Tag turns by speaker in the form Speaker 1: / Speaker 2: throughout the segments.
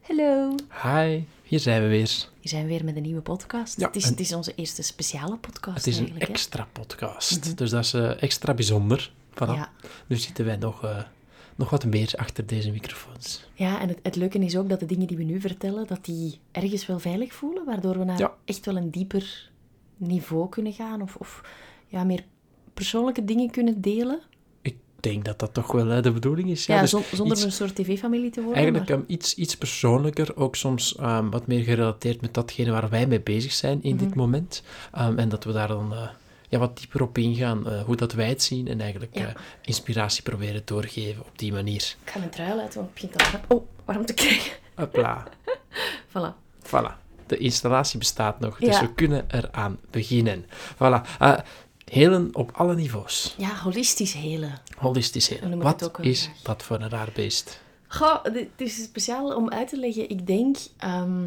Speaker 1: Hallo,
Speaker 2: Hi, hier zijn we weer.
Speaker 1: hier zijn we weer met een nieuwe podcast.
Speaker 2: Ja,
Speaker 1: het, is,
Speaker 2: en-
Speaker 1: het is onze eerste speciale podcast
Speaker 2: Het is een
Speaker 1: eigenlijk. hè? Mhm.
Speaker 2: extra podcast, dus dat is eh, extra bijzonder. Voilà.
Speaker 1: Ja.
Speaker 2: Nu zitten wij nog, eh, nog wat meer achter deze microfoons.
Speaker 1: Ja, en het, het leuke is ook dat de dingen die we nu vertellen, dat die ergens wel veilig voelen, waardoor we naar
Speaker 2: Ja.
Speaker 1: echt wel een dieper niveau kunnen gaan of, of ja, meer persoonlijke dingen kunnen delen.
Speaker 2: Ik denk dat dat toch wel eh, de bedoeling is.
Speaker 1: Ja,
Speaker 2: dus
Speaker 1: zon- zonder
Speaker 2: iets-
Speaker 1: een soort tv-familie te worden.
Speaker 2: Eigenlijk
Speaker 1: maar-
Speaker 2: ehm, iets, iets persoonlijker, ook soms ehm, wat meer gerelateerd met datgene waar wij mee bezig zijn in
Speaker 1: Mhm.
Speaker 2: dit moment. Ehm, en dat we daar dan eh, ja, wat dieper op ingaan, eh, hoe dat wij het zien en eigenlijk
Speaker 1: Ja.
Speaker 2: eh, inspiratie proberen doorgeven op die manier.
Speaker 1: Ik ga mijn trui uit, want het begint al warm- oh, warm te krijgen.
Speaker 2: Hopla,
Speaker 1: Voilà.
Speaker 2: voilà. De installatie bestaat nog, dus
Speaker 1: Ja.
Speaker 2: we kunnen eraan beginnen. Voilà, Eh, helen op alle niveaus.
Speaker 1: Ja, holistisch helen.
Speaker 2: Holistisch helen.
Speaker 1: noem ik het
Speaker 2: wat
Speaker 1: ook wel
Speaker 2: is
Speaker 1: graag.
Speaker 2: dat voor een raar beest?
Speaker 1: Goh, dit is speciaal om uit te leggen. Ik denk ehm,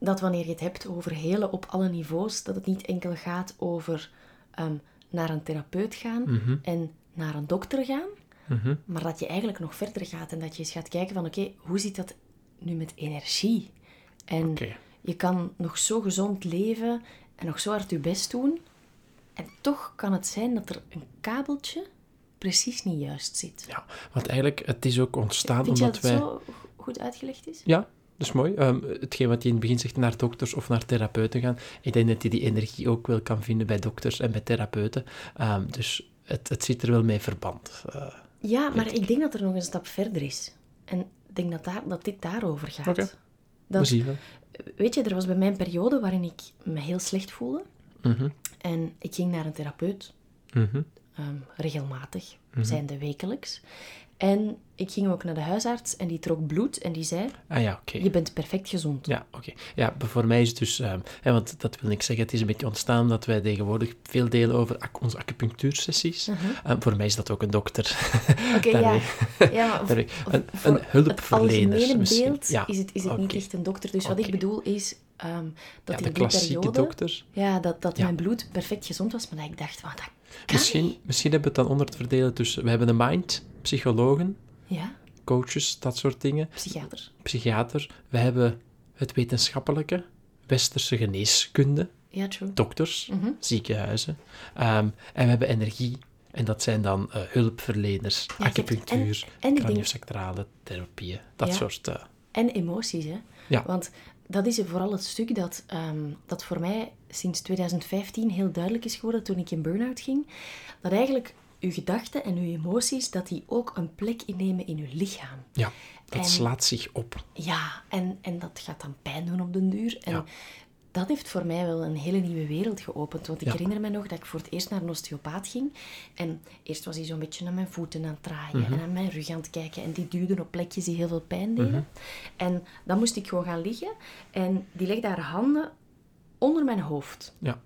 Speaker 1: dat wanneer je het hebt over helen op alle niveaus, dat het niet enkel gaat over ehm, naar een therapeut gaan en naar een dokter gaan,
Speaker 2: Mhm.
Speaker 1: maar dat je eigenlijk nog verder gaat en dat je eens gaat kijken van oké, hoe zit dat nu met energie? En
Speaker 2: Oké.
Speaker 1: je kan nog zo gezond leven en nog zo hard je best doen. En toch kan het zijn dat er een kabeltje precies niet juist zit.
Speaker 2: Ja, want eigenlijk, het is ook ontstaan
Speaker 1: Vind je
Speaker 2: omdat
Speaker 1: dat het
Speaker 2: wij...
Speaker 1: zo goed uitgelegd is?
Speaker 2: Ja, dat is mooi. Ehm, hetgeen wat hij in het begin zegt, naar dokters of naar therapeuten gaan. Ik denk dat je die energie ook wel kan vinden bij dokters en bij therapeuten. Ehm, dus het, het zit er wel mee verband. Eh,
Speaker 1: Ja, maar ik denk dat er nog een stap verder is. En ik denk dat, daar, dat dit daarover gaat.
Speaker 2: Oké.
Speaker 1: Dat-
Speaker 2: we zien wel.
Speaker 1: weet je, er was bij mij een periode waarin ik me heel slecht voelde.
Speaker 2: Mhm,
Speaker 1: En ik ging naar een therapeut,
Speaker 2: mhm.
Speaker 1: ehm, regelmatig, zijnde wekelijks. En ik ging ook naar de huisarts en die trok bloed en die zei,
Speaker 2: Ah ja, oké.
Speaker 1: je bent perfect gezond.
Speaker 2: Ja, oké. Ja, b- voor mij is het dus, ehm, hè, want dat wil ik zeggen, het is een beetje ontstaan dat wij tegenwoordig veel delen over ac- onze acupunctuursessies. Ehm, voor mij is dat ook een dokter.
Speaker 1: Oké,
Speaker 2: Daar
Speaker 1: Mhm. ja.
Speaker 2: ben
Speaker 1: ja maar
Speaker 2: Daar ben ik.
Speaker 1: voor-
Speaker 2: Een,
Speaker 1: voor
Speaker 2: een hulpverlener
Speaker 1: het algemene
Speaker 2: misschien.
Speaker 1: beeld
Speaker 2: Ja,
Speaker 1: is het, is het niet
Speaker 2: oké.
Speaker 1: echt een dokter. Dus wat ik
Speaker 2: Oké.
Speaker 1: bedoel is ehm,
Speaker 2: Ja,
Speaker 1: dat
Speaker 2: de
Speaker 1: in die
Speaker 2: klassieke
Speaker 1: periode...
Speaker 2: dokter.
Speaker 1: Ja, dat, dat
Speaker 2: Ja.
Speaker 1: mijn bloed perfect gezond was, maar dat ik dacht, wat dat kan
Speaker 2: Misschien,
Speaker 1: niet.
Speaker 2: misschien hebben we het dan onder te verdelen tussen... We hebben de mind, psychologen,
Speaker 1: Ja,
Speaker 2: coaches, dat soort dingen,
Speaker 1: psychiater.
Speaker 2: psychiater. We hebben het wetenschappelijke, westerse geneeskunde,
Speaker 1: Ja, true.
Speaker 2: dokters,
Speaker 1: Mhm.
Speaker 2: ziekenhuizen. Ehm, en we hebben energie. En dat zijn dan eh, hulpverleners,
Speaker 1: Ja, je hebt-
Speaker 2: acupunctuur,
Speaker 1: en ik denk-
Speaker 2: craniosacrale therapieën, dat
Speaker 1: Ja.
Speaker 2: soort... eh,
Speaker 1: En emoties, hè.
Speaker 2: Ja.
Speaker 1: Want dat is vooral het stuk dat, ehm, dat voor mij sinds 2015 heel duidelijk is geworden toen ik in burn-out ging. Dat eigenlijk uw gedachten en uw emoties, dat die ook een plek innemen in uw lichaam.
Speaker 2: ja, dat
Speaker 1: En-
Speaker 2: slaat zich op.
Speaker 1: Ja, en, en dat gaat dan pijn doen op den duur. En
Speaker 2: Ja.
Speaker 1: dat heeft voor mij wel een hele nieuwe wereld geopend. Want ik
Speaker 2: Ja.
Speaker 1: herinner me nog dat ik voor het eerst naar een osteopaat ging. En eerst was hij zo'n beetje aan mijn voeten aan het draaien
Speaker 2: Mhm.
Speaker 1: en aan mijn rug aan het kijken. En die duwde op plekjes die heel veel pijn deden.
Speaker 2: Mhm.
Speaker 1: En dan moest ik gewoon gaan liggen. En die legde haar handen onder mijn hoofd.
Speaker 2: Ja,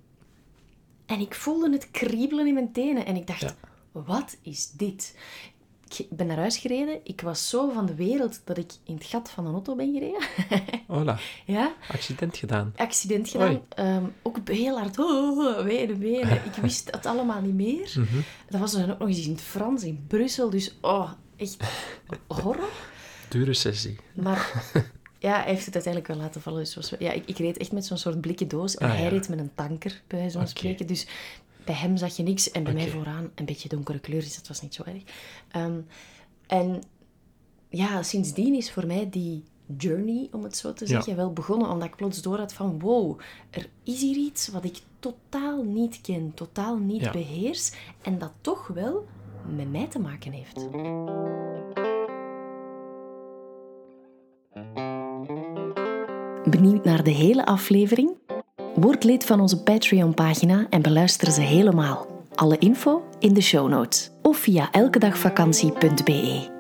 Speaker 1: En ik voelde het kriebelen in mijn tenen. En ik dacht, wat is dit? Ik Ik ben naar huis gereden. Ik was zo van de wereld dat ik in het gat van een auto ben gereden.
Speaker 2: Hola,
Speaker 1: ja,
Speaker 2: accident gedaan.
Speaker 1: accident gedaan.
Speaker 2: Oei.
Speaker 1: Ehm, ook heel hard. Oh, wenen, wenen. Ik wist het allemaal niet meer.
Speaker 2: Mhm.
Speaker 1: Dat was dan ook nog eens in het Frans, in Brussel. Dus oh, echt horror.
Speaker 2: Dure sessie.
Speaker 1: Maar ja, hij heeft het uiteindelijk wel laten vallen. Dus het was, ja, ik, ik reed echt met zo'n soort blikken doos. En
Speaker 2: Ah,
Speaker 1: hij
Speaker 2: ja.
Speaker 1: reed met een tanker, bij zo'n
Speaker 2: Oké.
Speaker 1: spreken. Dus bij hem zag je niks. En bij mij
Speaker 2: Oké.
Speaker 1: vooraan een beetje donkere kleur. Dus dat was niet zo erg. Ehm, en ja, sindsdien is voor mij die journey, om het zo te zeggen, wel begonnen. Omdat ik plots door had van... Wow, er is hier iets wat ik totaal niet ken. Totaal niet
Speaker 2: Ja.
Speaker 1: beheers. En dat toch wel met mij te maken heeft. Benieuwd naar de hele aflevering? Word lid van onze Patreon-pagina en beluister ze helemaal. Alle info in de show notes of via elkedagvakantie.be.